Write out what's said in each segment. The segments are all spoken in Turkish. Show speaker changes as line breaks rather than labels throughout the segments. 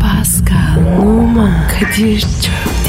Pascal, Oman, Kadir çok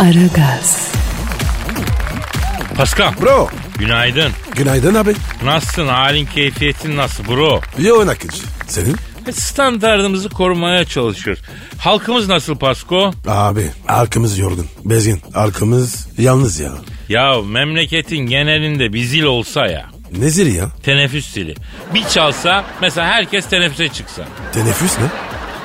Aragaz,
Pascal.
Bro.
Günaydın.
Günaydın abi.
Nasılsın? Halin keyfiyetin nasıl bro?
Yoğun akıcı. Senin?
E, Standartımızı korumaya çalışıyoruz. Halkımız nasıl Pasko?
Abi arkamız yordun. Bezgin. Arkamız yalnız ya.
Ya memleketin genelinde bir zil olsa ya.
Ne zili ya?
Teneffüs zili. Bir çalsa mesela herkes teneffüse çıksa.
Teneffüs ne?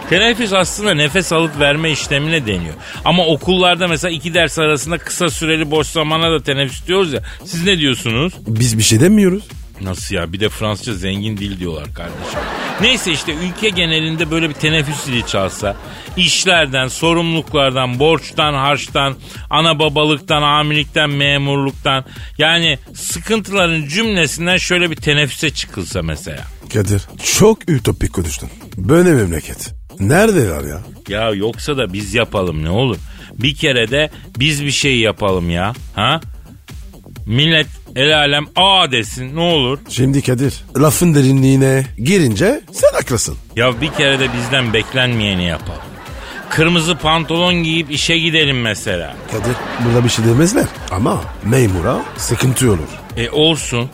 Teneffüs aslında nefes alıp verme işlemine deniyor. Ama okullarda mesela iki ders arasında kısa süreli boş zamana da teneffüs diyoruz ya. Siz ne diyorsunuz?
Biz bir şey demiyoruz.
Nasıl ya? Bir de Fransızca zengin dil diyorlar kardeşim. Neyse işte ülke genelinde böyle bir teneffüs zili çalsa, işlerden, sorumluluklardan, borçtan, harçtan, ana babalıktan, amilikten, memurluktan, yani sıkıntıların cümlesinden şöyle bir teneffüse çıkılsa mesela.
Kadir çok ütopik konuştun. Böyle memleket. Nerede var ya?
Ya yoksa da biz yapalım ne olur. Bir kere de biz bir şey yapalım ya. Ha? Millet el alem a desin ne olur.
Şimdi Kadir lafın derinliğine girince sen haklısın.
Ya bir kere de bizden beklenmeyeni yapalım. Kırmızı pantolon giyip işe gidelim mesela.
Kadir burada bir şey demezler. Ama memura sıkıntı olur.
E olsun.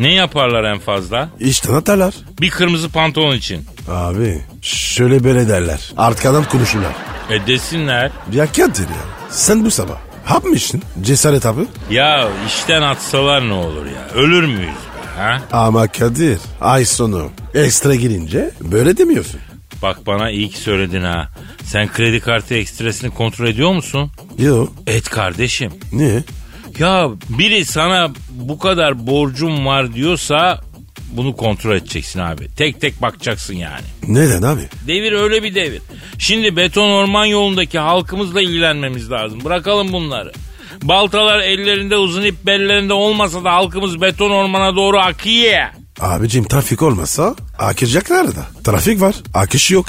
Ne yaparlar en fazla?
İşten atarlar.
Bir kırmızı pantolon için.
Abi şöyle böyle derler. Arkadan konuşurlar.
E desinler.
Ya Kadir ya sen bu sabah hap mı içtin? Cesaret abi.
Ya işten atsalar ne olur ya? Ölür müyüz? be, Ha?
Ama Kadir ay sonu ekstra girince böyle demiyorsun.
Bak bana iyi ki söyledin ha. Sen kredi kartı ekstresini kontrol ediyor musun?
Yo
Et kardeşim.
niye?
Ya biri sana bu kadar borcum var diyorsa bunu kontrol edeceksin abi. Tek tek bakacaksın yani.
Neden abi?
Devir öyle bir devir. Şimdi beton orman yolundaki halkımızla ilgilenmemiz lazım. Bırakalım bunları. Baltalar ellerinde uzun ip bellerinde olmasa da halkımız beton ormana doğru akıyor.
Abicim trafik olmasa akacaklar da. Trafik var akış yok.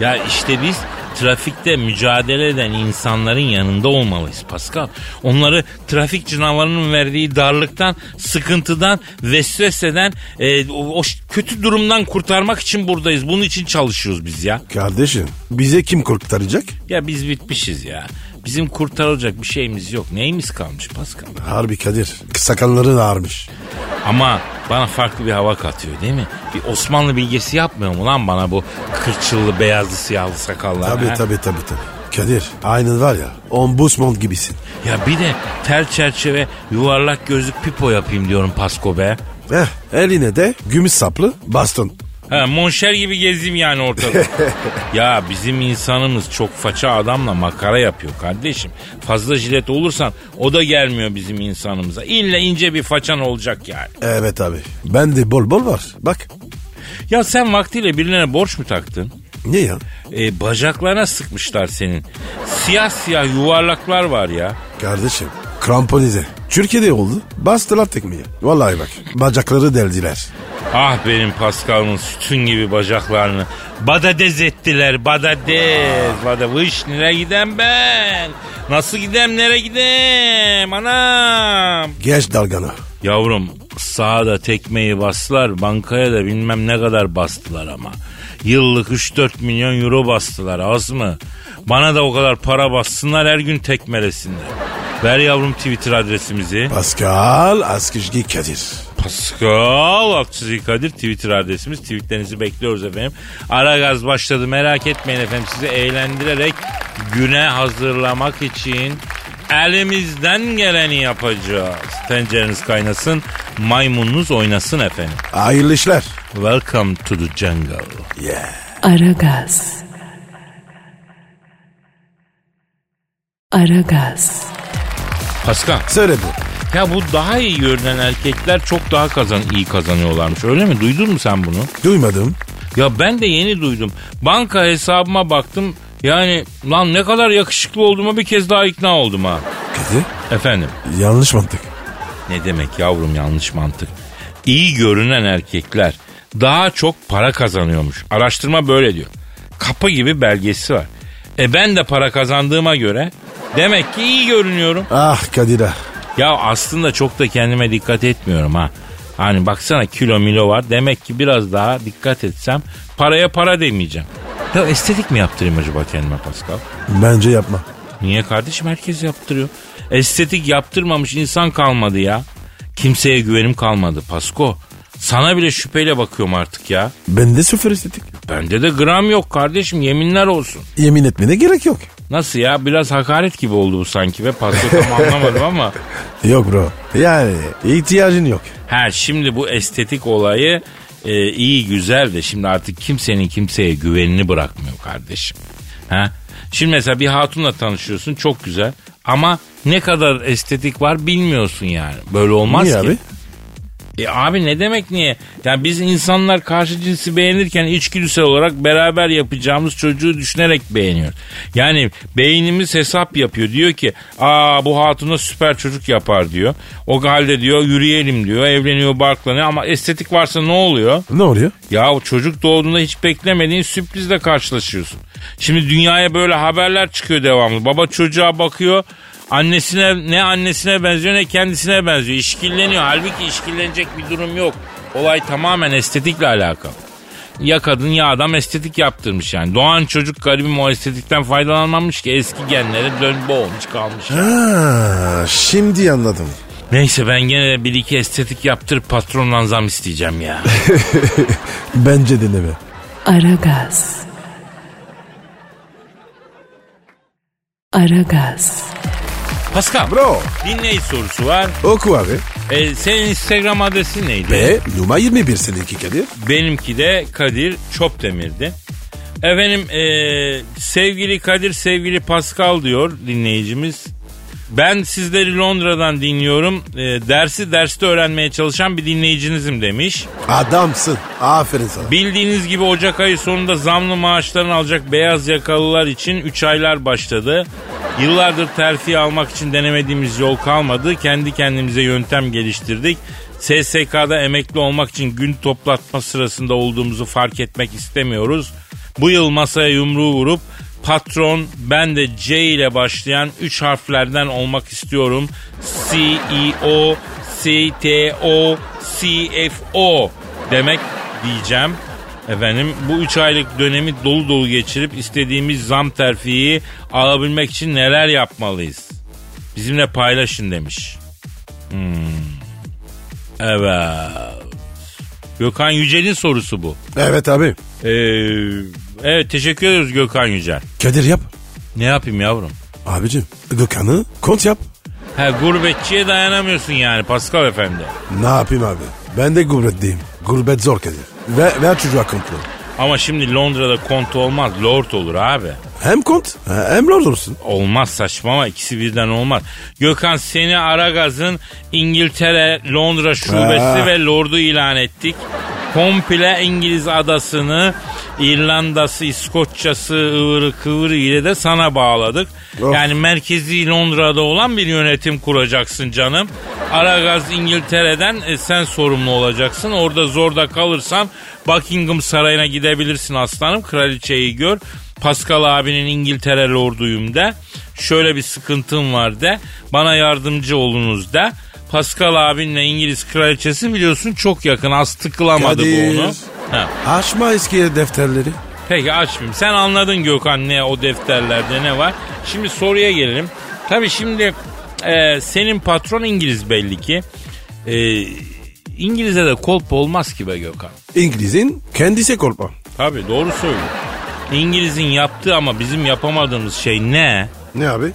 Ya işte biz trafikte mücadele eden insanların yanında olmalıyız Pascal. Onları trafik canavarının verdiği darlıktan, sıkıntıdan, vesveseden, e, o, o ş- kötü durumdan kurtarmak için buradayız. Bunun için çalışıyoruz biz ya.
Kardeşim bize kim kurtaracak?
Ya biz bitmişiz ya. Bizim kurtarılacak bir şeyimiz yok. Neyimiz kalmış Pascal?
Harbi Kadir sakalları da ağarmış.
Ama bana farklı bir hava katıyor değil mi? Bir Osmanlı bilgesi yapmıyor mu lan bana bu kırçıllı, beyazlı, siyahlı sakallar?
Tabii
ha?
tabii tabii tabii. Kadir aynı var ya ombudsman gibisin.
Ya bir de tel çerçeve yuvarlak gözlük pipo yapayım diyorum Pasko be.
Heh, Eh, eline de gümüş saplı baston.
Ha, monşer gibi gezeyim yani ortada. ya bizim insanımız çok faça adamla makara yapıyor kardeşim. Fazla jilet olursan o da gelmiyor bizim insanımıza. İlle ince bir façan olacak yani.
Evet abi. Ben de bol bol var. Bak.
Ya sen vaktiyle birilerine borç mu taktın?
Niye ya?
E, bacaklarına sıkmışlar senin. Siyah siyah yuvarlaklar var ya.
Kardeşim kramponize. Türkiye'de oldu. Bastılar tekmeyi. Vallahi bak bacakları deldiler.
Ah benim Pascal'ın sütün gibi bacaklarını. Badadez ettiler badadez. Bada vış nereye gidem ben? Nasıl gidem nereye gidem anam?
Geç dalgana.
Yavrum sağa da tekmeyi bastılar bankaya da bilmem ne kadar bastılar ama. Yıllık 3-4 milyon euro bastılar az mı? Bana da o kadar para bassınlar her gün tekmelesinler. Ver yavrum Twitter adresimizi.
Pascal Askışgi Kadir.
Pascal Askizgi Kadir Twitter adresimiz. Tweetlerinizi bekliyoruz efendim. Ara gaz başladı merak etmeyin efendim. Sizi eğlendirerek güne hazırlamak için elimizden geleni yapacağız. Tencereniz kaynasın, maymununuz oynasın efendim.
Hayırlı işler.
Welcome to the jungle.
Aragaz. Aragaz,
Pascal,
Söyle bu.
ya bu daha iyi görünen erkekler çok daha kazan iyi kazanıyorlarmış. Öyle mi? Duydun mu sen bunu?
Duymadım.
Ya ben de yeni duydum. Banka hesabıma baktım Yani lan ne kadar yakışıklı olduğuma bir kez daha ikna oldum ha.
Kadir
Efendim
yanlış mantık.
ne demek yavrum yanlış mantık. İyi görünen erkekler daha çok para kazanıyormuş. Araştırma böyle diyor. Kapı gibi belgesi var. E ben de para kazandığıma göre demek ki iyi görünüyorum.
Ah Kadir ah.
Ya aslında çok da kendime dikkat etmiyorum ha. Hani baksana kilo milo var. Demek ki biraz daha dikkat etsem paraya para demeyeceğim. Ya estetik mi yaptırayım acaba kendime Pascal?
Bence yapma.
Niye kardeşim herkes yaptırıyor. Estetik yaptırmamış insan kalmadı ya. Kimseye güvenim kalmadı Pasko. Sana bile şüpheyle bakıyorum artık ya.
Bende sıfır estetik.
Bende de gram yok kardeşim yeminler olsun.
Yemin etmene gerek yok.
Nasıl ya biraz hakaret gibi oldu bu sanki ve Pasko tam anlamadım ama.
Yok bro. Yani ihtiyacın yok.
Ha şimdi bu estetik olayı e, iyi güzel de şimdi artık kimsenin kimseye güvenini bırakmıyor kardeşim. Ha? Şimdi mesela bir hatunla tanışıyorsun çok güzel ama ne kadar estetik var bilmiyorsun yani. Böyle olmaz
Niye
ki.
abi?
E abi ne demek niye? Yani biz insanlar karşı cinsi beğenirken içgüdüsel olarak beraber yapacağımız çocuğu düşünerek beğeniyoruz. Yani beynimiz hesap yapıyor. Diyor ki aa bu hatuna süper çocuk yapar diyor. O halde diyor yürüyelim diyor. Evleniyor barklanıyor ama estetik varsa ne oluyor?
Ne oluyor?
Ya çocuk doğduğunda hiç beklemediğin sürprizle karşılaşıyorsun. Şimdi dünyaya böyle haberler çıkıyor devamlı. Baba çocuğa bakıyor. Annesine ne annesine benziyor ne kendisine benziyor. İşkilleniyor. Halbuki işkillenecek bir durum yok. Olay tamamen estetikle alakalı. Ya kadın ya adam estetik yaptırmış yani. Doğan çocuk garibim o estetikten faydalanmamış ki eski genlere dönme olmuş kalmış.
Ha, şimdi anladım.
Neyse ben gene de bir iki estetik yaptırıp patrondan zam isteyeceğim ya.
Bence deneme.
Aragaz. Aragaz.
Pascal.
Bro
Dinleyici sorusu var.
oku abi.
E, senin Instagram adresin neydi?
Ve Numa 21 seninki Kadir.
Benimki de Kadir Çopdemir'di. Efendim e, sevgili Kadir, sevgili Pascal diyor dinleyicimiz. Ben sizleri Londra'dan dinliyorum. E, dersi derste öğrenmeye çalışan bir dinleyicinizim demiş.
Adamsın. Aferin sana.
Bildiğiniz gibi Ocak ayı sonunda zamlı maaşlarını alacak beyaz yakalılar için 3 aylar başladı. Yıllardır terfi almak için denemediğimiz yol kalmadı. Kendi kendimize yöntem geliştirdik. SSK'da emekli olmak için gün toplatma sırasında olduğumuzu fark etmek istemiyoruz. Bu yıl masaya yumruğu vurup patron ben de C ile başlayan 3 harflerden olmak istiyorum. E CEO, CTO, CFO demek diyeceğim. Efendim bu 3 aylık dönemi dolu dolu geçirip istediğimiz zam terfiyi alabilmek için neler yapmalıyız? Bizimle paylaşın demiş. Hmm. Evet. Gökhan Yücel'in sorusu bu.
Evet abi.
Ee, evet teşekkür ediyoruz Gökhan Yücel.
Kadir yap.
Ne yapayım yavrum?
Abicim Gökhan'ı kont yap.
Ha gurbetçiye dayanamıyorsun yani Pascal Efendi.
Ne yapayım abi? Ben de gurbetteyim. Gurbet zor Kadir. Ver, ver çocuğa kontlu.
Ama şimdi Londra'da kont olmaz, lord olur abi.
Hem kont hem lord olursun.
Olmaz saçma ama ikisi birden olmaz. Gökhan seni Aragaz'ın İngiltere Londra şubesi
Ha.
ve lordu ilan ettik. Komple İngiliz adasını İrlandası, İskoçyası, ıvırı kıvırı ile de sana bağladık.
Of.
Yani merkezi Londra'da olan bir yönetim kuracaksın canım. Aragaz İngiltere'den e, sen sorumlu olacaksın. Orada zorda kalırsan Buckingham Sarayı'na gidebilirsin aslanım. Kraliçeyi gör. Pascal abinin İngiltere lorduyum de. Şöyle bir sıkıntım var de. Bana yardımcı olunuz de. Pascal abinle İngiliz kraliçesi biliyorsun çok yakın. Az tıklamadı
Kadir.
bu onu. Ha.
Açma eski defterleri.
Peki açmayayım. Sen anladın Gökhan ne o defterlerde ne var. Şimdi soruya gelelim. Tabii şimdi e, senin patron İngiliz belli ki. E, İngiliz'e de kolpa olmaz ki be Gökhan.
İngiliz'in kendisi korkma.
Tabii doğru söylüyor. İngiliz'in yaptığı ama bizim yapamadığımız şey ne?
Ne abi?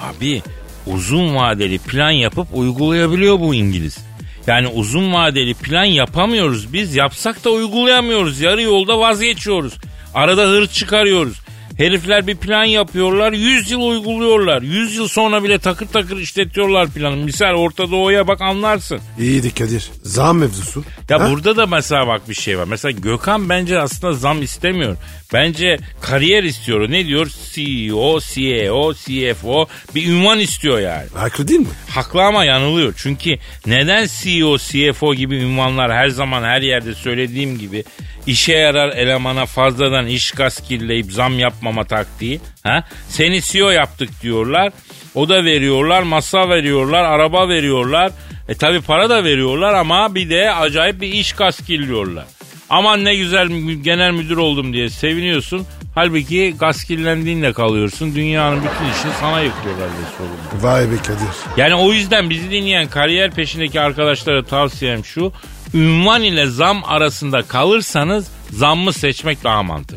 Abi uzun vadeli plan yapıp uygulayabiliyor bu İngiliz. Yani uzun vadeli plan yapamıyoruz biz. Yapsak da uygulayamıyoruz. Yarı yolda vazgeçiyoruz. Arada hır çıkarıyoruz. Herifler bir plan yapıyorlar. 100 yıl uyguluyorlar. 100 yıl sonra bile takır takır işletiyorlar planı. Misal Orta Doğu'ya bak anlarsın.
İyiydi Kadir. Zam mevzusu.
Ya
Ha?
burada da mesela bak bir şey var. Mesela Gökhan bence aslında zam istemiyor. Bence kariyer istiyor. Ne diyor? E CEO, CEO, CFO bir ünvan istiyor yani.
Haklı değil mi?
Haklı ama yanılıyor. Çünkü neden E CEO, CFO gibi ünvanlar her zaman her yerde söylediğim gibi işe yarar elemana fazladan iş gaskilleyip zam yapmama taktiği. Ha? Seni CEO yaptık diyorlar. O da veriyorlar, masa veriyorlar, araba veriyorlar. E tabi para da veriyorlar ama bir de acayip bir iş gaskilliyorlar. Aman ne güzel mü- genel müdür oldum diye seviniyorsun. Halbuki gaskillendiğinle kalıyorsun. Dünyanın bütün işini sana yıkıyorlar diye sorumlu.
Vay be Kadir.
Yani o yüzden bizi dinleyen kariyer peşindeki arkadaşlara tavsiyem şu. Ünvan ile zam arasında kalırsanız zammı seçmek daha mantıklı.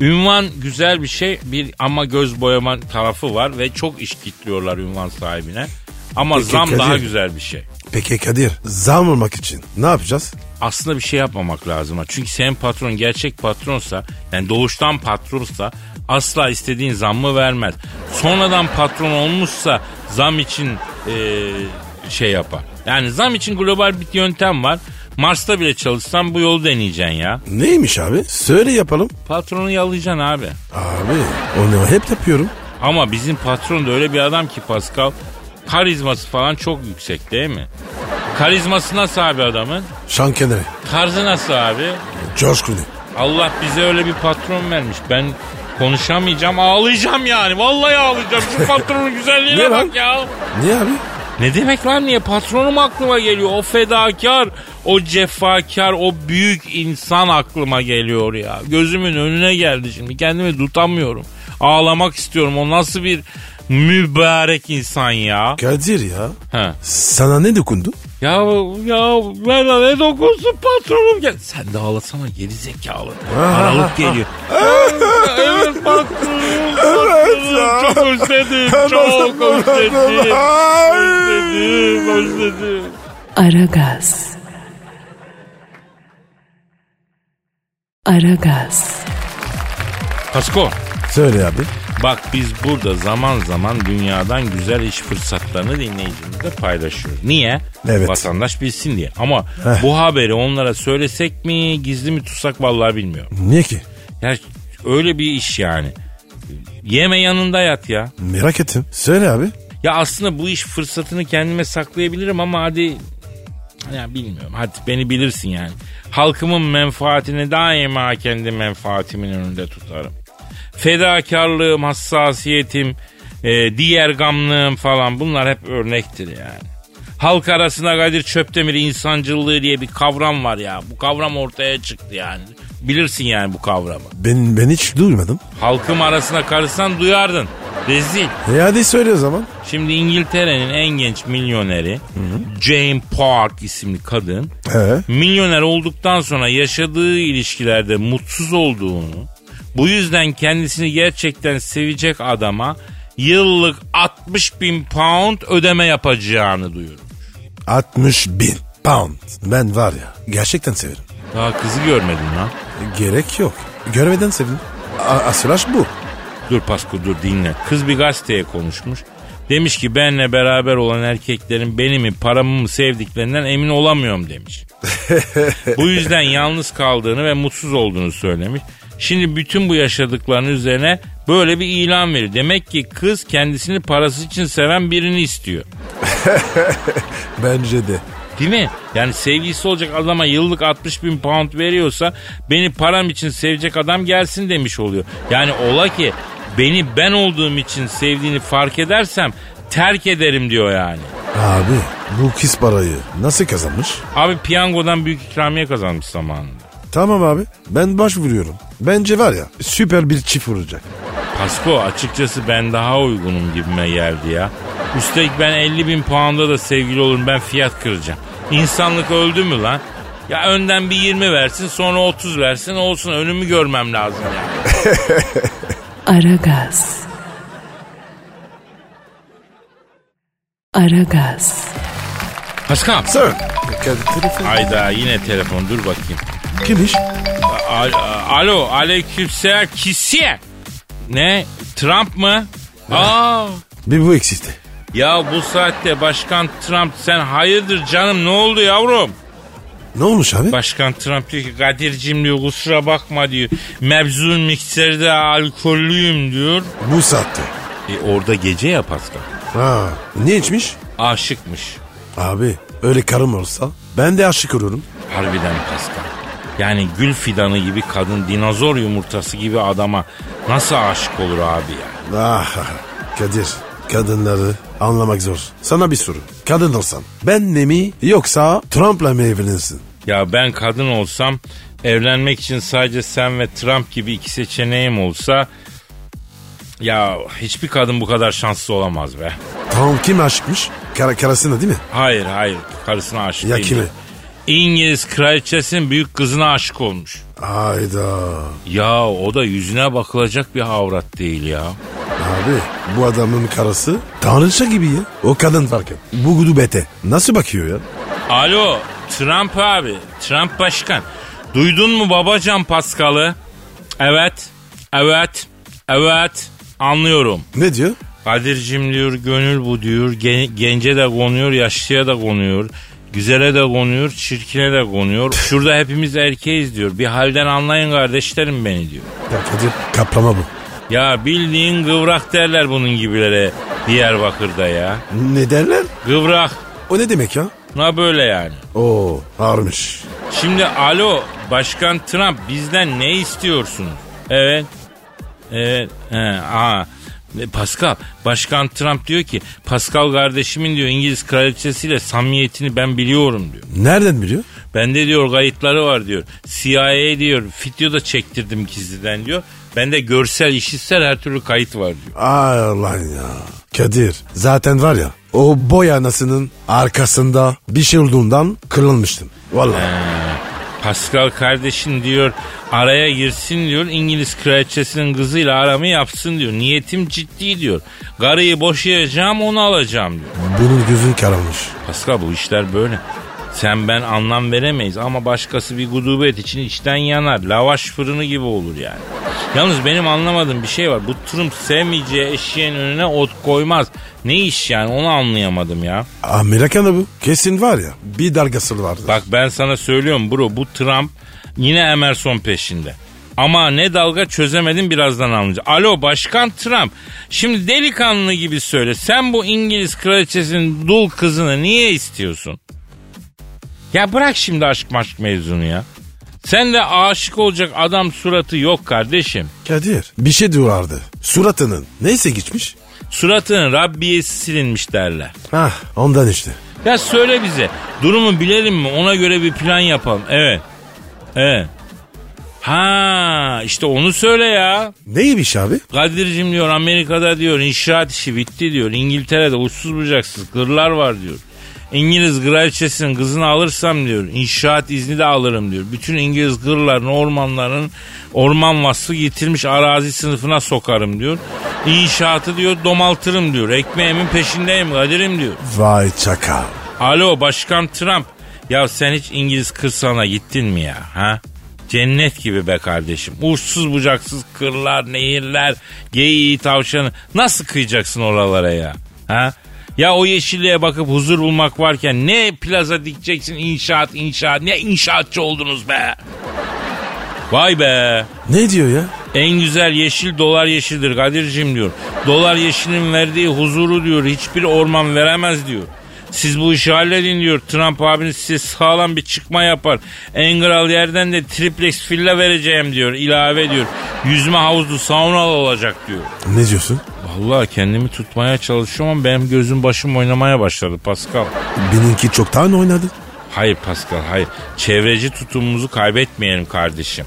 Ünvan güzel bir şey bir ama göz boyama tarafı var ve çok iş kitliyorlar ünvan sahibine. Ama
Peki,
zam
Kadir.
daha güzel bir şey.
Peki Kadir zam olmak için ne yapacağız?
Aslında bir şey yapmamak lazım. ha. Çünkü senin patron gerçek patronsa yani doğuştan patronsa asla istediğin zammı vermez. Sonradan patron olmuşsa zam için eee, şey yapar. Yani zam için global bir yöntem var. Mars'ta bile çalışsan bu yolu deneyeceksin ya.
Neymiş abi? Söyle yapalım.
Patronu yalayacaksın abi.
Abi onu hep yapıyorum.
Ama bizim patron da öyle bir adam ki Pascal. Karizması falan çok yüksek değil mi? Karizması nasıl abi adamın?
Şan kenarı.
Tarzı nasıl abi?
George Clooney.
Allah bize öyle bir patron vermiş. Ben konuşamayacağım, ağlayacağım yani. Vallahi ağlayacağım. Şu patronun
Ne
güzelliğine
lan?
bak ya.
Niye abi?
Ne demek lan niye? Patronum aklıma geliyor. O fedakar, o cefakar, o büyük insan aklıma geliyor ya. Gözümün önüne geldi şimdi. Kendimi tutamıyorum. Ağlamak istiyorum. O nasıl bir mübarek insan ya.
Kadir ya.
He.
Sana ne dokundu?
Ya ya ver lan, ne dokunsun patronum gel. Sen de ağlasana geri zekalı. Aralık geliyor. evet patronum. patronum.
ya.
Çok özledim. Çok özledim. Özledim. Özledim.
Aragaz. Aragaz.
Pasko
Söyle abi.
bak biz burada zaman zaman dünyadan güzel iş fırsatlarını dinleyicimizle paylaşıyoruz. Niye?
Evet.
Vatandaş bilsin diye. Ama
Heh.
bu haberi onlara söylesek mi gizli mi tutsak vallahi bilmiyorum.
Niye ki?
Ya öyle bir iş yani. Yeme yanında yat ya.
Merak ettim. Söyle abi.
Ya aslında bu iş fırsatını kendime saklayabilirim ama hadi ya bilmiyorum. Hadi beni bilirsin yani. Halkımın menfaatini daima kendi menfaatimin önünde tutarım. Fedakarlığım, hassasiyetim, e, diğer gamlığım falan bunlar hep örnektir yani. Halk arasında Kadir Çöptemir insancılığı diye bir kavram var ya. Bu kavram ortaya çıktı yani. Bilirsin yani bu kavramı.
Ben, ben hiç duymadım.
Halkım arasına karışsan duyardın. Rezil.
E hadi söyle o zaman.
Şimdi İngiltere'nin en genç milyoneri Jane Park isimli kadın
He.
milyoner olduktan sonra yaşadığı ilişkilerde mutsuz olduğunu bu yüzden kendisini gerçekten sevecek adama yıllık 60 bin pound ödeme yapacağını duyurdu.
60 bin pound. Ben var ya gerçekten severim. E,
Daha kızı görmedin lan.
Gerek yok. Görmeden sevin. A- asılaj bu.
Dur Pasko dur dinle. Kız bir gazeteye konuşmuş. Demiş ki benle beraber olan erkeklerin beni mi paramı mı sevdiklerinden emin olamıyorum demiş. bu yüzden yalnız kaldığını ve mutsuz olduğunu söylemiş. Şimdi bütün bu yaşadıklarının üzerine böyle bir ilan veriyor. Demek ki kız kendisini parası için seven birini istiyor.
Bence de.
Değil mi? Yani sevgilisi olacak adama yıllık 60 bin pound veriyorsa beni param için sevecek adam gelsin demiş oluyor. Yani ola ki beni ben olduğum için sevdiğini fark edersem terk ederim diyor yani.
Abi bu kis parayı nasıl kazanmış?
Abi piyangodan büyük ikramiye kazanmış zamanında.
Tamam abi ben başvuruyorum. Bence var ya süper bir çift vuracak.
Pasko açıkçası ben daha uygunum gibime geldi ya. Üstelik ben 50 bin pound'a da sevgili olurum ben fiyat kıracağım. İnsanlık öldü mü lan? Ya önden bir 20 versin sonra 30 versin olsun önümü görmem lazım yani.
Aragaz. Aragaz.
Paskal.
Sir. Kadir telefon.
Ayda yine telefon dur bakayım.
Kimmiş?
A- a- alo aleykümselam kisiye. Ne? Trump mı? Aa.
Bir bu eksikti.
Ya bu saatte Başkan Trump sen hayırdır canım ne oldu yavrum?
Ne olmuş abi?
Başkan Trump diyor ki Kadir'cim diyor kusura bakma diyor. Mevzun mikserde alkollüyüm diyor.
Bu saatte.
E orada gece ya Pascal.
Ha. Ne içmiş?
Aşıkmış.
Abi öyle karım olsa ben de aşık olurum.
Harbiden Pascal. Yani gül fidanı gibi kadın dinozor yumurtası gibi adama nasıl aşık olur abi ya?
Ah Kadir kadınları anlamak zor. Sana bir soru. Kadın olsan benle mi yoksa Trump'la mı evlenirsin?
Ya ben kadın olsam evlenmek için sadece sen ve Trump gibi iki seçeneğim olsa ya hiçbir kadın bu kadar şanslı olamaz be.
Trump kim aşıkmış? Kara, karısına değil mi?
Hayır hayır karısına aşık
Ya
değil.
kime?
İngiliz kraliçesinin büyük kızına aşık olmuş.
Hayda.
Ya o da yüzüne bakılacak bir avrat değil ya.
Abi bu adamın karısı tanrıça gibi ya. O kadın farkı. Bu gudubete nasıl bakıyor ya?
Alo Trump abi. Trump başkan. Duydun mu babacan Paskal'ı? Evet. Evet. Evet. Anlıyorum.
Ne diyor?
Kadir'cim diyor gönül bu diyor. Gen- gence de konuyor, yaşlıya da konuyor. Güzele de konuyor, çirkine de konuyor. Şurada hepimiz erkeğiz diyor. Bir halden anlayın kardeşlerim beni diyor.
Ya Kadir kaplama bu.
Ya bildiğin kıvrak derler bunun gibilere Diyarbakır'da ya.
Ne derler?
Kıvrak.
O ne demek ya?
Na böyle yani.
Oo ağırmış.
Şimdi alo Başkan Trump bizden ne istiyorsunuz? Evet. Evet. He, aha. E, Pascal, Başkan Trump diyor ki Pascal kardeşimin diyor İngiliz kraliçesiyle samimiyetini ben biliyorum diyor.
Nereden biliyor?
Bende diyor kayıtları var diyor. CIA diyor video da çektirdim gizliden diyor. Bende görsel, işitsel her türlü kayıt var diyor.
Ay lan ya. Kadir zaten var ya o boy anasının arkasında bir şey olduğundan kırılmıştım. Vallahi.
Pascal kardeşin diyor araya girsin diyor İngiliz kraliçesinin kızıyla aramı yapsın diyor. Niyetim ciddi diyor. Garıyı boşayacağım onu alacağım diyor.
Bunun gözün karalmış.
Pascal bu işler böyle. Sen ben anlam veremeyiz ama başkası bir gudubet için içten yanar. Lavaş fırını gibi olur yani. Yalnız benim anlamadığım bir şey var. Bu Trump sevmeyeceği eşeğin önüne ot koymaz. Ne iş yani onu anlayamadım ya.
Amerikan da Ah, bu. Kesin var ya bir dalgası vardı.
Bak ben sana söylüyorum bro bu Trump yine Emerson peşinde. Ama ne dalga çözemedim birazdan anlayacağım. Alo Başkan Trump. Şimdi delikanlı gibi söyle. Sen bu İngiliz kraliçesinin dul kızını niye istiyorsun? Ya bırak şimdi aşk maşk mevzunu ya. Sen de aşık olacak adam suratı yok kardeşim.
Kadir bir şey diyorlardı. Suratının neyse geçmiş.
Suratının Rabbiyesi silinmiş derler.
Hah Ah, ondan işte.
Ya söyle bize. Durumu bilelim mi? Ona göre bir plan yapalım. Evet. Evet. Ha işte onu söyle ya.
Neymiş abi?
Kadir'cim diyor Amerika'da diyor inşaat işi bitti diyor. İngiltere'de uçsuz bucaksız kırlar var diyor. İngiliz kraliçesinin kızını alırsam diyor inşaat izni de alırım diyor. Bütün İngiliz kırların ormanların orman vasfı yitirmiş arazi sınıfına sokarım diyor. İnşaatı diyor domaltırım diyor. Ekmeğimin peşindeyim Kadir'im diyor.
Vay çaka.
Alo Başkan Trump. Ya sen hiç İngiliz kırsalına gittin mi ya? Ha? Cennet gibi be kardeşim. Uçsuz bucaksız kırlar, nehirler, geyiği, tavşanı. Nasıl kıyacaksın oralara ya? Ha? Ya o yeşilliğe bakıp huzur bulmak varken ne plaza dikeceksin inşaat inşaat ne inşaatçı oldunuz be. Vay be.
Ne diyor ya?
En güzel yeşil dolar yeşildir Kadir'cim diyor. Dolar yeşilin verdiği huzuru diyor hiçbir orman veremez diyor. Siz bu işi halledin diyor. Trump abiniz size sağlam bir çıkma yapar. En kral yerden de triplex villa vereceğim diyor. İlave diyor. Yüzme havuzlu saunalı olacak diyor.
Ne diyorsun?
Vallahi kendimi tutmaya çalışıyorum ama benim gözüm başım oynamaya başladı Pascal.
Benimki çoktan oynadı.
Hayır Pascal hayır. Çevreci tutumumuzu kaybetmeyelim kardeşim.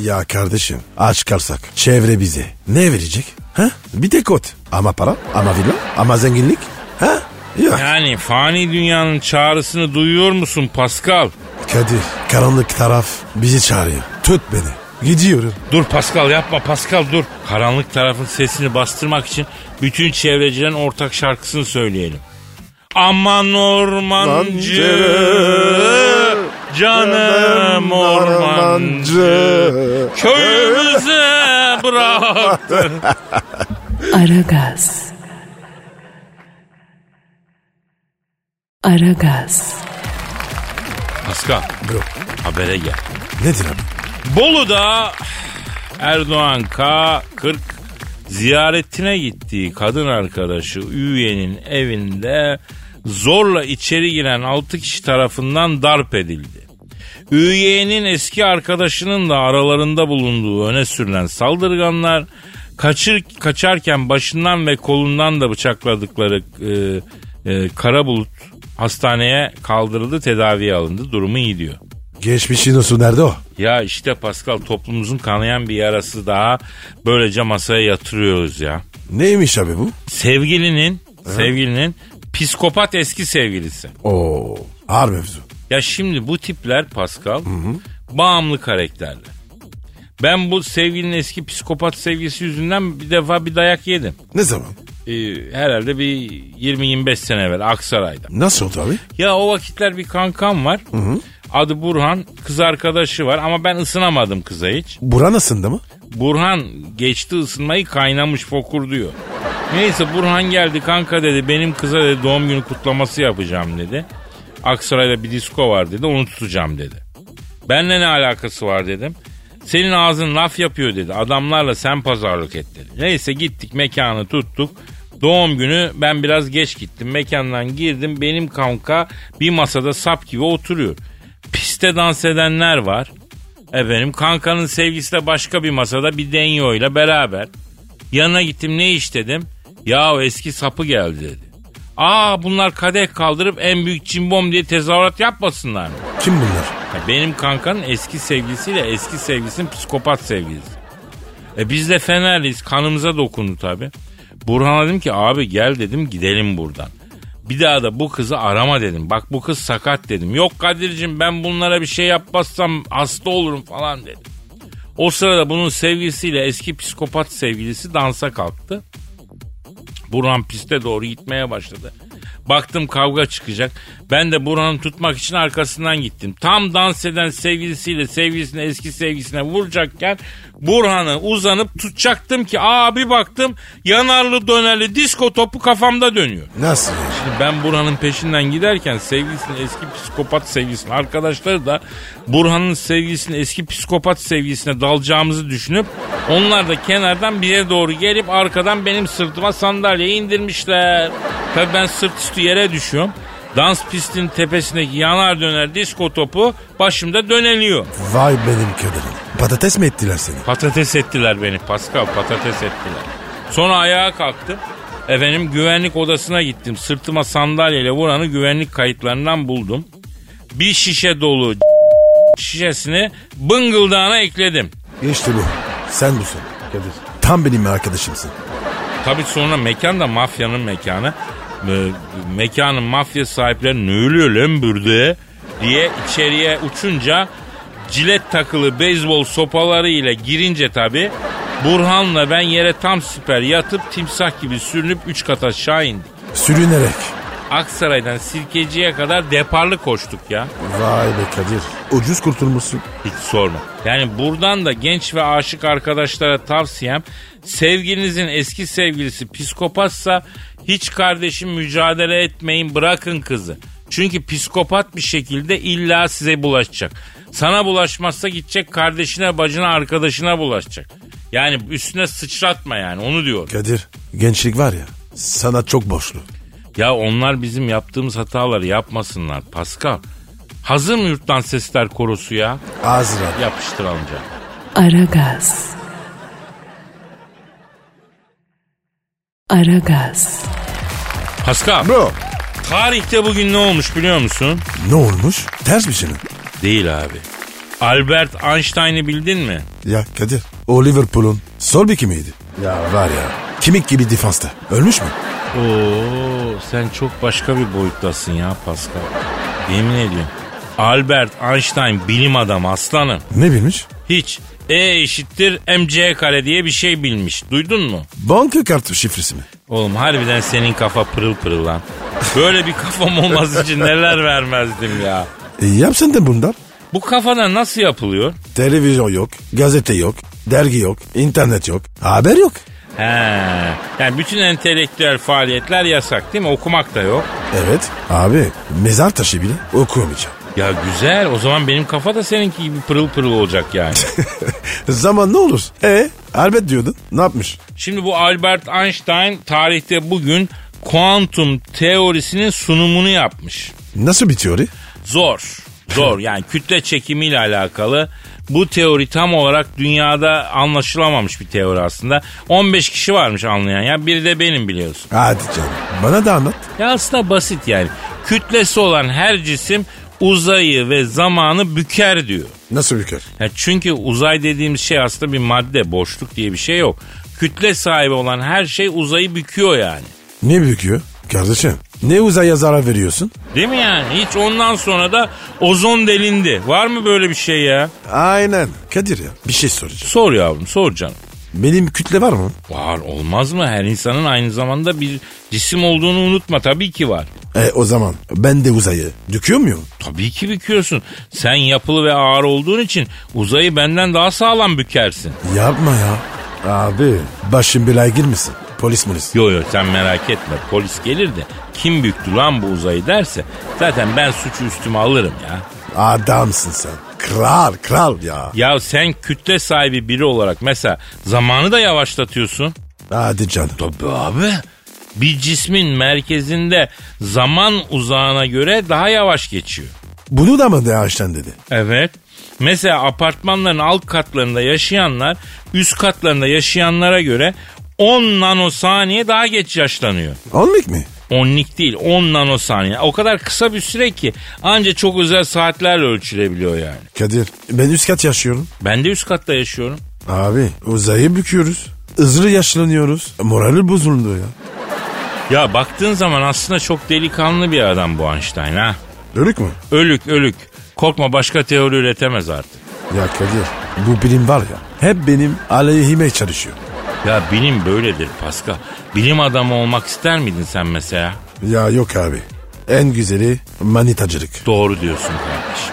Ya kardeşim aç kalsak çevre bize ne verecek? Ha? Bir tek ot. Ama para, ama villa, ama zenginlik. Ha? Ya.
Yani fani dünyanın çağrısını duyuyor musun Pascal?
Kadir karanlık taraf bizi çağırıyor. Tut beni. Gidiyorum.
Dur Pascal yapma Pascal dur. Karanlık tarafın sesini bastırmak için bütün çevrecilerin ortak şarkısını söyleyelim. Aman ormancı canım ormancı köyümüze bırak.
Aragaz. Aragaz.
Pascal
Bro
habere gel.
nedir abi?
Bolu'da Erdoğan K40 ziyaretine gittiği kadın arkadaşı Üye'nin evinde zorla içeri giren 6 kişi tarafından darp edildi. Üye'nin eski arkadaşının da aralarında bulunduğu öne sürülen saldırganlar kaçır, kaçarken başından ve kolundan da bıçakladıkları e, e, Karabulut hastaneye kaldırıldı tedaviye alındı durumu iyi diyor.
Geçmişin olsun nerede o?
Ya işte Pascal toplumumuzun kanayan bir yarası daha böylece masaya yatırıyoruz ya.
Neymiş abi bu?
Sevgilinin, sevgilinin psikopat eski sevgilisi.
Oo ağır mevzu.
Ya şimdi bu tipler Pascal bağımlı karakterler. Ben bu sevgilinin eski psikopat sevgilisi yüzünden bir defa bir dayak yedim.
Ne zaman?
Ee, herhalde bir 20-25 sene evvel Aksaray'da.
Nasıl oldu abi?
Ya o vakitler bir kankam var. Adı Burhan. Kız arkadaşı var ama ben ısınamadım kıza hiç.
Buran ısındı mı?
Burhan geçti ısınmayı kaynamış fokur diyor. Neyse Burhan geldi kanka dedi benim kıza dedi doğum günü kutlaması yapacağım dedi. Aksaray'da bir disko var dedi onu tutacağım dedi. Benle ne alakası var dedim. Senin ağzın laf yapıyor dedi. Adamlarla sen pazarlık et dedi. Neyse gittik mekanı tuttuk. Doğum günü ben biraz geç gittim. Mekandan girdim. Benim kanka bir masada sap gibi oturuyor. Piste dans edenler var. Efendim kankanın sevgilisi de başka bir masada bir denyo ile beraber. Yanına gittim ne iş dedim. Yahu eski sapı geldi dedi. Aa bunlar kadeh kaldırıp en büyük cimbom diye tezahürat yapmasınlar mı?
Kim bunlar?
Ya Benim kankanın eski sevgilisiyle eski sevgilisinin psikopat sevgilisi. E biz de Fenerliyiz. Kanımıza dokundu tabi. Burhan'a dedim ki abi gel dedim gidelim buradan. Bir daha da bu kızı arama dedim. Bak bu kız sakat dedim. Yok Kadir'cim ben bunlara bir şey yapmazsam hasta olurum falan dedim. O sırada bunun sevgilisiyle eski psikopat sevgilisi dansa kalktı. Burhan piste doğru gitmeye başladı. Baktım kavga çıkacak. Ben de Burhan'ı tutmak için arkasından gittim. Tam dans eden sevgilisiyle sevgilisine eski sevgilisine vuracakken Burhan'ı uzanıp tutacaktım ki abi baktım yanarlı dönerli disko topu kafamda dönüyor.
Nasıl yani?
Şimdi ben Burhan'ın peşinden giderken sevgilisinin eski psikopat sevgilisinin arkadaşları da Burhan'ın sevgilisinin eski psikopat sevgilisine dalacağımızı düşünüp onlar da kenardan bize doğru gelip arkadan benim sırtıma sandalyeyi indirmişler. Tabii ben sırt üstü yere düşüyorum. Dans pistinin tepesindeki yanar döner disko topu başımda döneliyor.
Vay benim kaderim. Patates mi ettiler seni?
Patates ettiler beni Pascal patates ettiler. Sonra ayağa kalktım. Efendim güvenlik odasına gittim. Sırtıma sandalyeyle vuranı güvenlik kayıtlarından buldum. Bir şişe dolu şişesini bıngıldağına ekledim.
İşte bu. Sen busun. Kadir. Tam benim arkadaşımsın.
Tabii sonra mekan da mafyanın mekanı. Ee, mekanın mafya sahipleri ne ölüyor lan burada diye içeriye uçunca cilet takılı beyzbol sopaları ile girince tabii Burhan'la ben yere tam süper yatıp timsah gibi sürünüp 3 kat aşağı indik.
Sürünerek.
Aksaray'dan Sirkeci'ye kadar deparlı koştuk ya.
Vay be Kadir. Ucuz kurtulmuşsun.
Hiç sorma. Yani buradan da genç ve aşık arkadaşlara tavsiyem sevgilinizin eski sevgilisi psikopatsa hiç kardeşim mücadele etmeyin bırakın kızı. Çünkü psikopat bir şekilde illa size bulaşacak. Sana bulaşmazsa gidecek kardeşine bacına arkadaşına bulaşacak. Yani üstüne sıçratma yani onu diyor.
Kadir gençlik var ya sana çok borçlu.
Ya onlar bizim yaptığımız hataları yapmasınlar Pascal. Hazır mı yurttan sesler korosu ya?
Azra. abi.
Yapıştır amca.
Aragaz. Aragaz.
Pascal.
Bro.
Tarihte bugün ne olmuş biliyor musun?
Ne olmuş? Ters bir şey mi?
Değil abi. Albert Einstein'ı bildin mi?
Ya Kadir o Liverpool'un sol beki miydi? Ya var ya. Kimik gibi defansta. Ölmüş mü?
Oo, sen çok başka bir boyuttasın ya Pascal. Yemin ediyorum. Albert Einstein bilim adamı aslanım.
Ne bilmiş?
Hiç E eşittir MC kare diye bir şey bilmiş. Duydun mu?
Banka kartı şifresi mi?
Oğlum harbiden senin kafa pırıl pırıl lan. Böyle bir kafam olması için neler vermezdim ya.
E, yapsın da bundan.
Bu kafada nasıl yapılıyor?
Televizyon yok, gazete yok, dergi yok, internet yok, haber yok.
He. Yani bütün entelektüel faaliyetler yasak değil mi? Okumak da yok.
Evet abi mezar taşı bile okuyamayacağım.
Ya güzel o zaman benim kafa da seninki gibi pırıl pırıl olacak yani.
Zaman ne olur? E elbet diyordun. Ne yapmış?
Şimdi bu Albert Einstein tarihte bugün kuantum teorisinin sunumunu yapmış.
Nasıl bir teori?
Zor. Zor yani kütle çekimiyle alakalı. Bu teori tam olarak dünyada anlaşılamamış bir teori aslında. 15 kişi varmış anlayan ya biri de benim biliyorsun.
Hadi canım bana da anlat.
Ya aslında basit yani. Kütlesi olan her cisim uzayı ve zamanı büker diyor.
Nasıl büker?
Ya çünkü uzay dediğimiz şey aslında bir madde, boşluk diye bir şey yok. Kütle sahibi olan her şey uzayı büküyor yani.
Ne büküyor? Kardeşim ne uzaya zarar veriyorsun?
Değil mi yani? Hiç ondan sonra da ozon delindi. Var mı böyle bir şey ya?
Aynen. Kadir ya bir şey soracağım.
Sor yavrum, sor canım.
Benim kütle var mı?
Var olmaz mı? Her insanın aynı zamanda bir cisim olduğunu unutma. Tabii ki var.
E o zaman ben de uzayı döküyor muyum?
Tabii ki büküyorsun. Sen yapılı ve ağır olduğun için uzayı benden daha sağlam bükersin.
Yapma ya. Abi başın belaya girmesin. Polis polis.
Yo yo sen merak etme polis gelir de kim büktü lan bu uzayı derse zaten ben suçu üstüme alırım ya.
Adamsın sen. Kral kral ya.
Ya sen kütle sahibi biri olarak mesela zamanı da yavaşlatıyorsun.
Hadi canım.
Tabii abi. Bir cismin merkezinde zaman uzağına göre daha yavaş geçiyor.
Bunu da mı Einstein dedi?
Evet. Mesela apartmanların alt katlarında yaşayanlar üst katlarında yaşayanlara göre 10 nanosaniye daha geç yaşlanıyor.
Onlik mi?
Onlik değil 10 nanosaniye. O kadar kısa bir süre ki anca çok özel saatlerle ölçülebiliyor yani.
Kadir ben üst kat yaşıyorum.
Ben de üst katta yaşıyorum.
Abi uzayı büküyoruz. Hızlı yaşlanıyoruz. E, Morali bozuldu ya.
Ya baktığın zaman aslında çok delikanlı bir adam bu Einstein ha.
Dönük mü?
Ölük ölük. Korkma başka teori üretemez artık.
Ya Kadir bu bilim var ya hep benim aleyhime çalışıyor.
Ya bilim böyledir Pascal. Bilim adamı olmak ister miydin sen mesela?
Ya yok abi en güzeli manitacılık.
Doğru diyorsun kardeşim.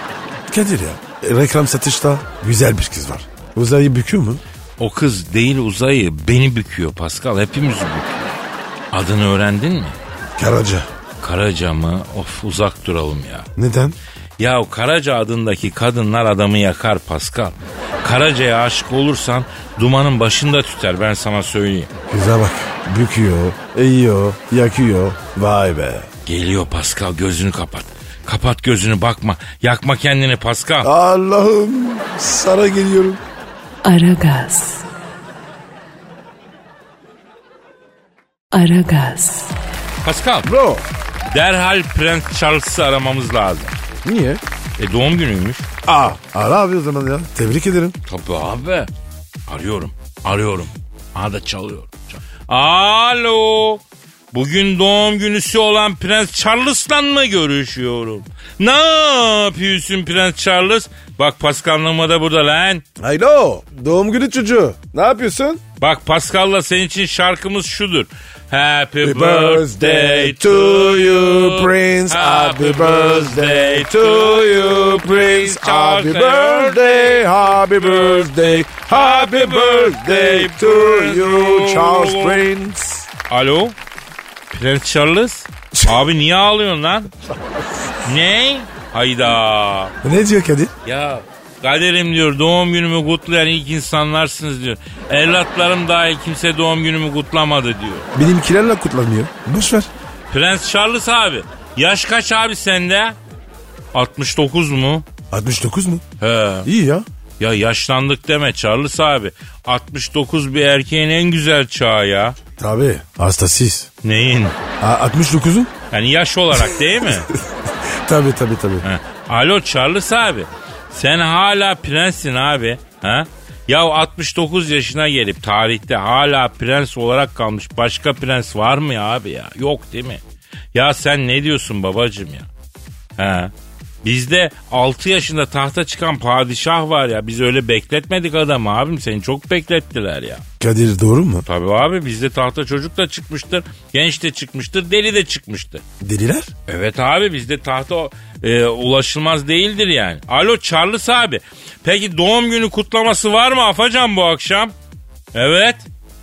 Kadir ya e, reklam satışta güzel bir kız var. Uzayı büküyor mu?
O kız değil uzayı beni büküyor Pascal. Hepimizi büküyor. Adını öğrendin mi?
Karaca.
Karaca mı? Of uzak duralım ya.
Neden?
Ya o Karaca adındaki kadınlar adamı yakar Pascal. Karaca'ya aşık olursan dumanın başında tüter ben sana söyleyeyim.
Kıza bak büküyor, eğiyor, yakıyor. Vay be.
Geliyor Pascal gözünü kapat. Kapat gözünü bakma. Yakma kendini Pascal.
Allah'ım sana geliyorum.
Aragaz. Aragaz.
Pascal
Bro.
derhal Prens Charles'ı aramamız lazım.
Niye?
E doğum günüymüş.
Aa. Ara abi o zaman ya. Tebrik ederim.
Tabii abi. Arıyorum. Arıyorum. Aha da çalıyor. Çal- Alo. Bugün doğum günüsü olan Prens Charles'la mı görüşüyorum? Ne yapıyorsun Prens Charles? Bak Pascal'lama da burada lan.
Alo. Doğum günü çocuğu. Ne yapıyorsun?
Bak Pascal'la senin için şarkımız şudur.
Happy
Happy birthday to you Prince. Happy birthday to you Prince.
Happy birthday, happy birthday, happy birthday to you Charles Prince.
Alo? Prens Charles? Abi niye ağlıyorsun lan? ne? Hayda.
Ne diyor Kadir?
Ya kaderim diyor doğum günümü kutlayan ilk insanlarsınız diyor. Evlatlarım dahil kimse doğum günümü kutlamadı diyor.
Benimkilerle kutlanıyor. Boş ver.
Prens Charles abi yaş kaç abi sende? 69 mu?
69 mu?
He.
İyi ya.
Ya yaşlandık deme Charles abi. 69 bir erkeğin en güzel çağı ya.
Tabii. Hastasıyız.
Neyin?
A- 69'un?
Yani yaş olarak değil mi?
Tabii tabii tabii.
Ha. Alo Charles abi. Sen hala prenssin abi. Ha? Ya 69 yaşına gelip tarihte hala prens olarak kalmış başka prens var mı ya abi ya? Yok değil mi? Ya sen ne diyorsun babacım ya? Ha? Bizde 6 yaşında tahta çıkan padişah var ya. Biz öyle bekletmedik adamı abim. Seni çok beklettiler ya.
Kadir doğru mu?
Tabii abi bizde tahta çocuk da çıkmıştır. Genç de çıkmıştır. Deli de çıkmıştır.
Deliler?
Evet abi bizde tahta e, ulaşılmaz değildir yani. Alo Charles abi. Peki doğum günü kutlaması var mı Afacan bu akşam? Evet.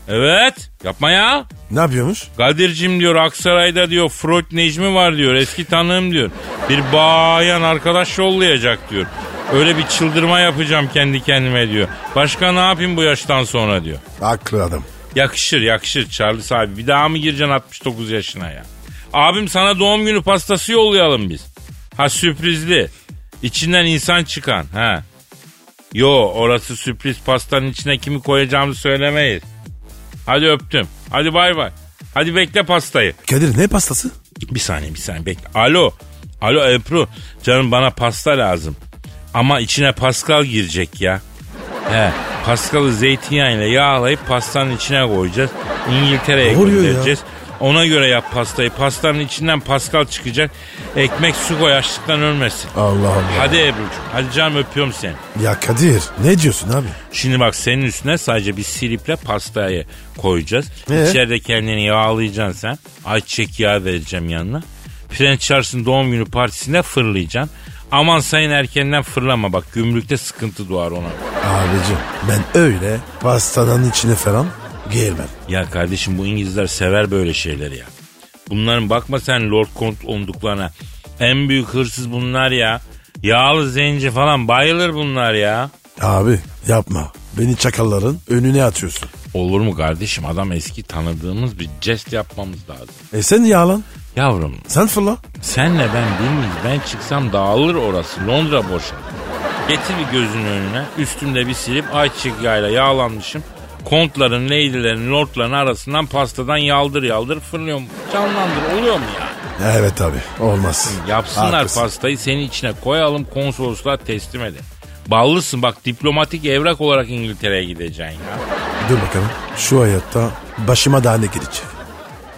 Evet. Yapma ya.
Ne yapıyormuş?
Kadir'cim diyor Aksaray'da diyor Freud Necmi var diyor eski tanığım diyor. Bir bayan arkadaş yollayacak diyor. Öyle bir çıldırma yapacağım kendi kendime diyor. Başka ne yapayım bu yaştan sonra diyor.
Haklı adam.
Yakışır yakışır Charles abi bir daha mı gireceksin 69 yaşına ya. Abim sana doğum günü pastası yollayalım biz. Ha sürprizli. İçinden insan çıkan ha. Yo orası sürpriz pastanın içine kimi koyacağımızı söylemeyiz. Hadi öptüm. Hadi bay bay. Hadi bekle pastayı.
Kadir ne pastası?
Bir saniye bir saniye bekle. Alo. Alo Ebru. Canım bana pasta lazım. Ama içine Pascal girecek ya. He. Pascal'ı zeytinyağıyla yağlayıp pastanın içine koyacağız. İngiltere'ye
Ne oluyor ya?
göndereceğiz. Ona göre yap pastayı. Pastanın içinden Pascal çıkacak. Ekmek su koy açlıktan ölmesin.
Allah Allah.
Hadi Ebru'cum. Hadi canım öpüyorum seni.
Ya Kadir ne diyorsun abi?
Şimdi bak senin üstüne sadece bir siliple pastayı koyacağız.
Ee?
İçeride kendini yağlayacaksın sen. Ayçiçek yağı vereceğim yanına. Prens Charles'ın doğum günü partisinde fırlayacaksın. Aman sayın erkenden fırlama bak gümrükte sıkıntı doğar ona.
Abicim ben öyle pastanın içine falan girmem.
Ya kardeşim bu İngilizler sever böyle şeyleri ya. Bunların bakma sen Lord Kont olduklarına. En büyük hırsız bunlar ya. Yağlı zenci falan bayılır bunlar ya.
Abi yapma. Beni çakalların önüne atıyorsun.
Olur mu kardeşim adam eski tanıdığımız bir jest yapmamız lazım.
E sen yağlan.
Yavrum
Sen fırla.
Senle ben bilmiyiz. Ben çıksam dağılır orası. Londra boşa. Getir bir gözünün önüne. Üstümde bir silip ayçiçek yağıyla yağlanmışım. Kontların, ladylerin, lordların arasından pastadan yaldır yaldır fırlıyorum. Canlandır oluyor mu ya?
Evet abi olmaz.
Yapsınlar
Haklısın.
pastayı senin içine koyalım konsolosluğa teslim edin. Ballısın bak diplomatik evrak olarak İngiltere'ye gideceksin ya.
Dur bakalım şu hayatta başıma daha ne gelecek?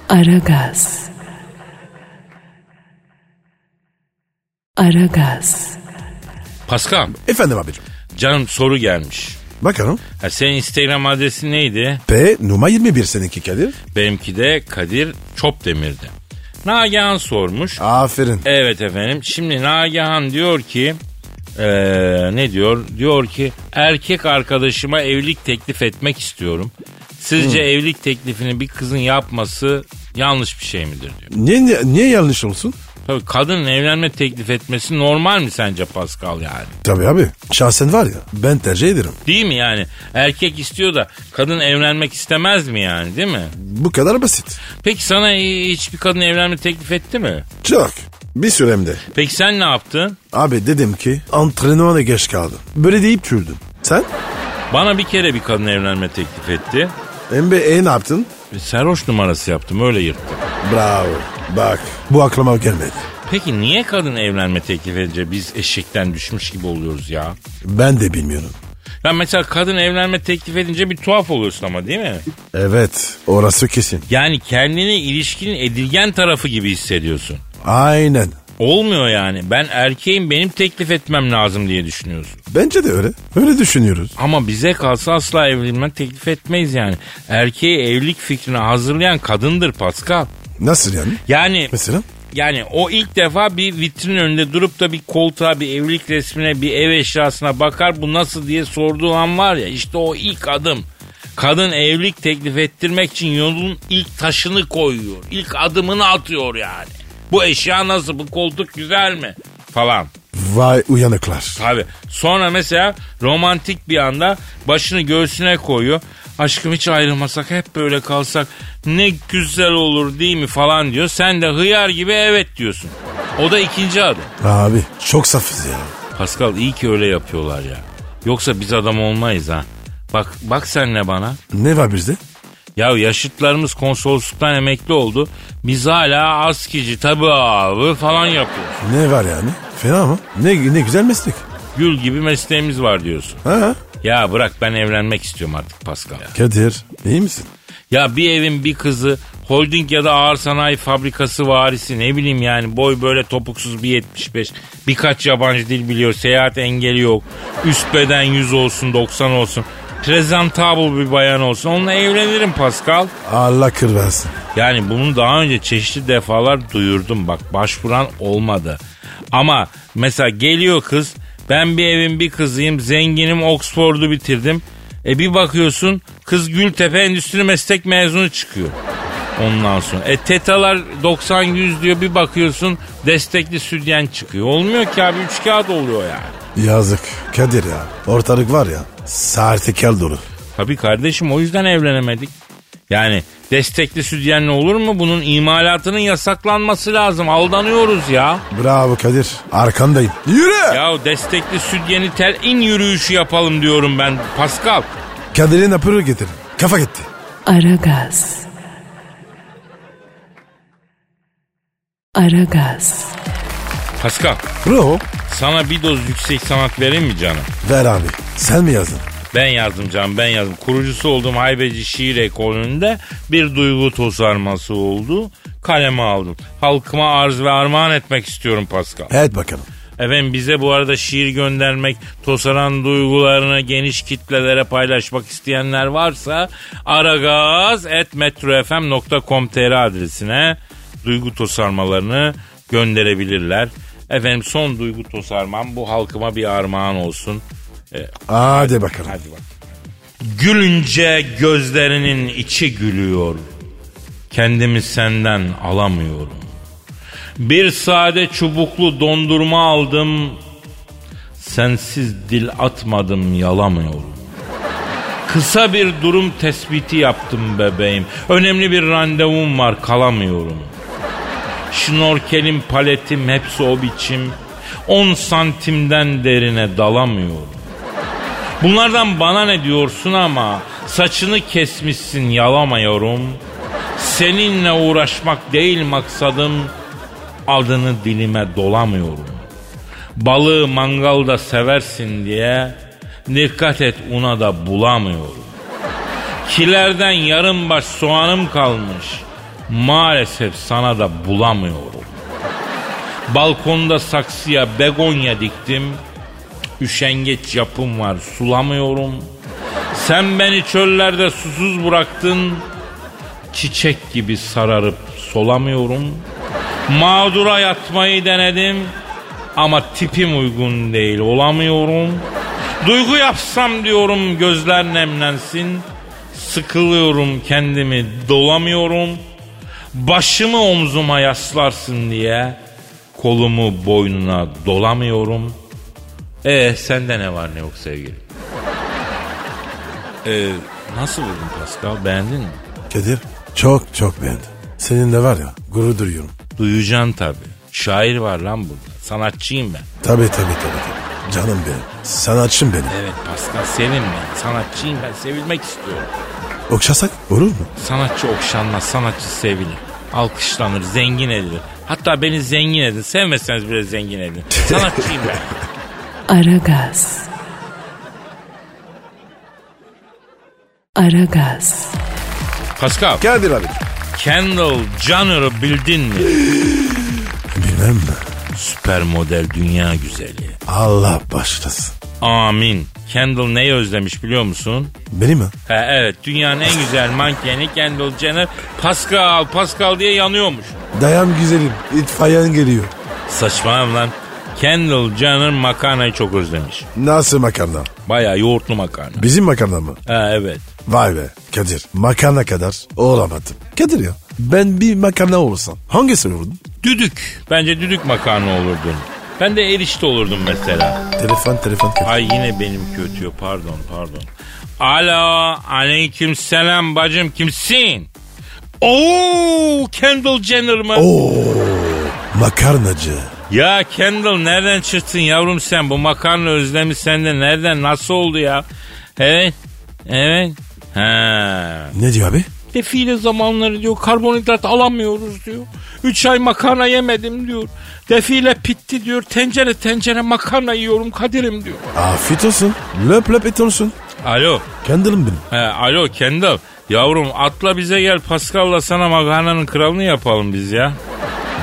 Aragaz. Aragaz.
Pascal
Efendim abicim.
canım soru gelmiş.
Bakalım.
Ha, senin Instagram adresin neydi?
P numara 21 seninki Kadir.
Benimki de Kadir Çopdemir'di. Nagihan sormuş.
Aferin.
Evet efendim. Şimdi Nagihan diyor ki eee, ne diyor? Diyor ki erkek arkadaşıma evlilik teklif etmek istiyorum. Sizce evlilik teklifini bir kızın yapması yanlış bir şey midir diyor.
Niye, niye, niye yanlış olsun?
Tabii kadının evlenme teklif etmesi normal mi sence Pascal yani?
Tabii abi. Şahsen var ya ben tercih ederim.
Değil mi yani? Erkek istiyor da kadın evlenmek istemez mi yani değil mi?
Bu kadar basit.
Peki sana hiçbir kadın evlenme teklif etti mi?
Çok. Bir süremde.
Peki sen ne yaptın?
Abi dedim ki antrenmana geç kaldım. Böyle deyip çürdüm. Sen?
Bana bir kere bir kadın evlenme teklif etti.
MBE ne yaptın?
E, Sarhoş numarası yaptım öyle yırttım.
Bravo. Bak bu aklıma gelmedi.
Peki niye kadın evlenme teklif edince biz eşekten düşmüş gibi oluyoruz ya?
Ben de bilmiyorum.
Ya mesela kadın evlenme teklif edince bir tuhaf oluyorsun ama değil mi?
Evet orası kesin.
Yani kendini ilişkinin edilgen tarafı gibi hissediyorsun.
Aynen.
Olmuyor yani. Ben erkeğim benim teklif etmem lazım diye düşünüyorsun.
Bence de öyle. Öyle düşünüyoruz.
Ama bize kalsa asla evlenme teklif etmeyiz yani. Erkeği evlilik fikrine hazırlayan kadındır Pascal.
Nasıl yani?
Yani
Mesela?
Yani o ilk defa bir vitrin önünde durup da bir koltuğa, bir evlilik resmine, bir ev eşyasına bakar bu nasıl diye sorduğu an var ya işte o ilk adım. Kadın evlilik teklif ettirmek için yolun ilk taşını koyuyor. İlk adımını atıyor yani. Bu eşya nasıl, bu koltuk güzel mi falan.
Vay uyanıklar.
Tabii. Sonra mesela romantik bir anda başını göğsüne koyuyor. Aşkım hiç ayrılmasak hep böyle kalsak ne güzel olur değil mi falan diyor. Sen de hıyar gibi evet diyorsun. O da ikinci adım.
Abi çok safız ya.
Pascal iyi ki öyle yapıyorlar ya. Yoksa biz adam olmayız ha. Bak bak senle bana.
Ne var bizde?
Ya yaşıtlarımız konsolosluktan emekli oldu. Biz hala askici tabi abi falan yapıyoruz.
Ne var yani? Fena mı? Ne, ne güzel meslek.
Gül gibi mesleğimiz var diyorsun.
Ha?
Ya bırak ben evlenmek istiyorum artık Pascal.
Kadir iyi misin?
Ya bir evin bir kızı holding ya da ağır sanayi fabrikası varisi ne bileyim yani boy böyle topuksuz bir 75 birkaç yabancı dil biliyor seyahat engeli yok üst beden 100 olsun 90 olsun presentable bir bayan olsun onunla evlenirim Pascal.
Allah kırmasın.
Yani bunu daha önce çeşitli defalar duyurdum bak başvuran olmadı. Ama Mesela geliyor kız ben bir evin bir kızıyım zenginim Oxford'u bitirdim. E bir bakıyorsun kız Gültepe Endüstri Meslek mezunu çıkıyor. Ondan sonra. E tetalar 90-100 diyor bir bakıyorsun destekli sütyen çıkıyor. Olmuyor ki abi üç kağıt oluyor yani.
Yazık. Kadir ya. Ortalık var ya. Sertekel dolu.
Tabii kardeşim o yüzden evlenemedik. Yani destekli sütyenli olur mu? Bunun imalatının yasaklanması lazım. Aldanıyoruz ya.
Bravo Kadir. Arkandayım. Yürü.
Ya destekli sütyeni ter in yürüyüşü yapalım diyorum ben Pascal.
Kadir'in apırı getir. Kafa gitti.
Aragaz. Aragaz.
Pascal
Bro.
sana bir doz yüksek sanat vereyim mi canım?
Ver abi. Sen mi yazdın?
Ben yazdım canım ben yazdım. Kurucusu olduğum haybeci şiir ekolünde bir duygu tosarması oldu. Kaleme aldım. Halkıma arz ve armağan etmek istiyorum Pascal.
Evet bakalım.
Efendim bize bu arada şiir göndermek, tosaran duygularını geniş kitlelere paylaşmak isteyenler varsa aragaz.metrofm.com.tr adresine duygu tosarmalarını gönderebilirler. Efendim son duygu tosarmam bu halkıma bir armağan olsun.
Hadi bakalım.
Hadi bak. Gülünce gözlerinin içi gülüyor. Kendimi senden alamıyorum. Bir sade çubuklu dondurma aldım. Sensiz dil atmadım yalamıyorum. Kısa bir durum tespiti yaptım bebeğim. Önemli bir randevum var kalamıyorum. Şnorkelim paletim hepsi o biçim. 10 santimden derine dalamıyorum. Bunlardan bana ne diyorsun ama saçını kesmişsin yalamıyorum. Seninle uğraşmak değil maksadım adını dilime dolamıyorum. Balığı mangalda seversin diye dikkat et una da bulamıyorum. Kilerden yarım baş soğanım kalmış. Maalesef sana da bulamıyorum. Balkonda saksıya begonya diktim. Üşengeç yapım var sulamıyorum. Sen beni çöllerde susuz bıraktın. Çiçek gibi sararıp solamıyorum. Mağdura yatmayı denedim. Ama tipim uygun değil olamıyorum. Duygu yapsam diyorum gözler nemlensin. Sıkılıyorum kendimi dolamıyorum. Başımı omzuma yaslarsın diye kolumu boynuna dolamıyorum.'' Ee sende ne var ne yok sevgilim? Ee, nasıl buldun Pascal beğendin mi?
Kadir çok çok beğendim. Senin de var ya gurur duyuyorum.
Duyacaksın tabii. Şair var lan burada. Sanatçıyım ben.
Tabii tabii tabii. tabii. Canım benim. Sanatçım benim.
Evet Pascal senin ben. Sanatçıyım ben. Sevilmek istiyorum.
Okşasak olur mu?
Sanatçı okşanmaz, sanatçı sevilir. Alkışlanır, zengin edilir. Hatta beni zengin edin. Sevmezseniz bile zengin edin. Sanatçıyım ben.
Aragaz. Aragaz.
Pascal,
Kadir abi.
Kendall Jenner'ı bildin mi?
Bilmem mi?
Süper model dünya güzeli.
Allah başlasın.
Amin. Kendall neyi özlemiş biliyor musun?
Beni mi?
Ha, evet dünyanın en güzel mankeni Kendall Jenner Pascal Pascal diye yanıyormuş.
Dayan güzelim. İtfaiyen geliyor.
Saçmalama lan. Kendall Jenner makarnayı çok özlemiş.
Nasıl makarna?
Baya yoğurtlu makarna.
Bizim makarna mı?
Ha, evet.
Vay be Kadir. Makarna kadar olamadım. Kadir ya. Ben bir makarna olsam hangisi olurdum?
Düdük. Bence düdük makarna olurdun. Ben de erişte olurdum mesela.
Telefon telefon Kadir.
Ay yine benim kötüyor pardon pardon. Alo aleyküm selam bacım kimsin? Oo Kendall Jenner mı?
Makarnacı.
Ya Kendall nereden çıktın yavrum sen? Bu makarna özlemi sende nereden nasıl oldu ya? Evet. Evet. Ha.
Ne diyor abi?
Defile zamanları diyor karbonhidrat alamıyoruz diyor. Üç ay makarna yemedim diyor. Defile pitti diyor. Tencere tencere makarna yiyorum Kadir'im diyor.
Afiyet olsun. Löp löp et olsun.
Alo.
Kendalım benim.
He, alo Kendall. Yavrum atla bize gel Pascal'la sana makarnanın kralını yapalım biz ya.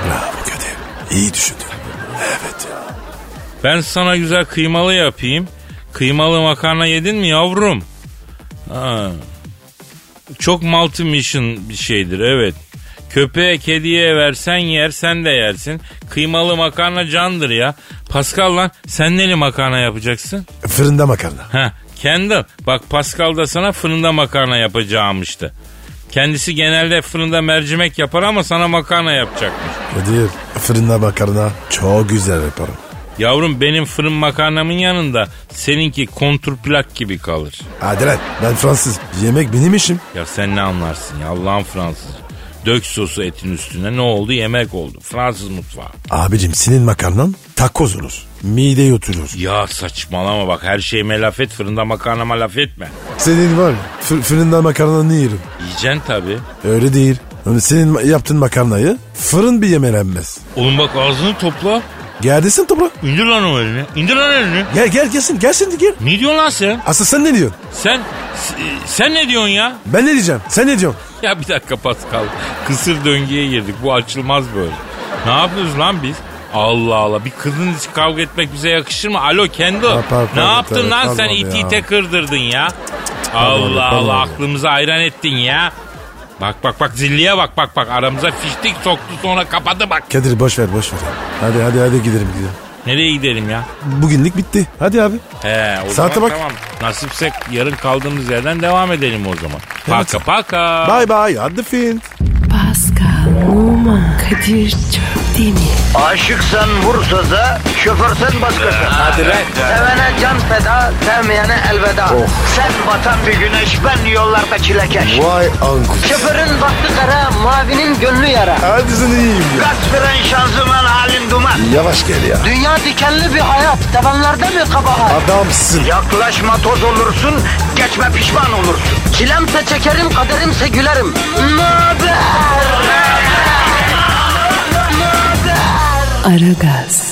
Bravo Kadir. İyi düşündün. Evet ya.
Ben sana güzel kıymalı yapayım. Kıymalı makarna yedin mi yavrum? Ha. Çok multi mission bir şeydir evet. Köpeğe kediye versen yer sen de yersin. Kıymalı makarna candır ya. Pascal lan sen neli makarna yapacaksın?
Fırında makarna.
Ha, Kendall bak Pascal da sana fırında makarna yapacağımıştı. Kendisi genelde fırında mercimek yapar ama sana makarna yapacakmış.
Kadir fırında makarna çok güzel yaparım.
Yavrum benim fırın makarnamın yanında seninki kontrplak gibi kalır.
Hadi lan ben Fransız. Yemek benim işim.
Ya sen ne anlarsın ya Allah'ın Fransız. Dök sosu etin üstüne ne oldu yemek oldu. Fransız mutfağı.
Abicim senin makarnan takoz olur. Mide oturur.
Ya saçmalama bak her şeyime laf et fırında makarnama laf etme.
Senin var ya, fır- fırında makarna ne yerim?
Yiyeceksin tabii.
Öyle değil. Yani senin ma- yaptığın makarnayı fırın bir yemelenmez.
Oğlum bak ağzını topla.
Geldesin toprağa.
İndir lan o elini. İndir lan elini.
Gel gel gelsin gelsin gel.
Ne diyorsun lan sen?
Asıl sen ne diyorsun?
Sen s- sen ne diyorsun ya?
Ben ne diyeceğim? Sen ne diyorsun?
Ya bir dakika Pascal. Kısır döngüye girdik. Bu açılmaz böyle. Ne yapıyoruz lan biz? Allah Allah. Bir kızın için kavga etmek bize yakışır mı? Alo kendi.
Ha, pardon,
ne yaptın
evet,
lan
pardon
sen
ya.
iti ite kırdırdın ya.
Pardon,
Allah
pardon.
Allah aklımızı ayran ettin ya. Bak bak bak zilliye bak bak bak aramıza fiştik soktu sonra kapadı bak.
Kadir boş ver boş ver. Hadi hadi hadi gidelim gidelim.
Nereye gidelim ya?
Bugünlük bitti. Hadi abi.
He, o
Saate
zaman
bak.
tamam. Nasipse yarın kaldığımız yerden devam edelim o zaman. Paka paka.
Bye bye. Hadi fin.
Pascal, Oman, Kadir çok değil mi?
Aşıksan vursa da, şoförsen başkasın. Hadi
lan.
Sevene can feda, sevmeyene elveda. Sen batan bir güneş, ben yollarda çilekeş.
Vay anku.
Şoförün baktı kara, mavinin gönlü yara.
Hadi sen iyiyim ya.
Kasperen şanzıman halin duman.
Yavaş gel ya.
Dünya dikenli bir hayat, sevenlerde mi kabahar?
Adamsın.
Yaklaşma toz olursun, geçme pişman olursun. Çilemse çekerim, kaderimse gülerim. Möber!
Aragaz.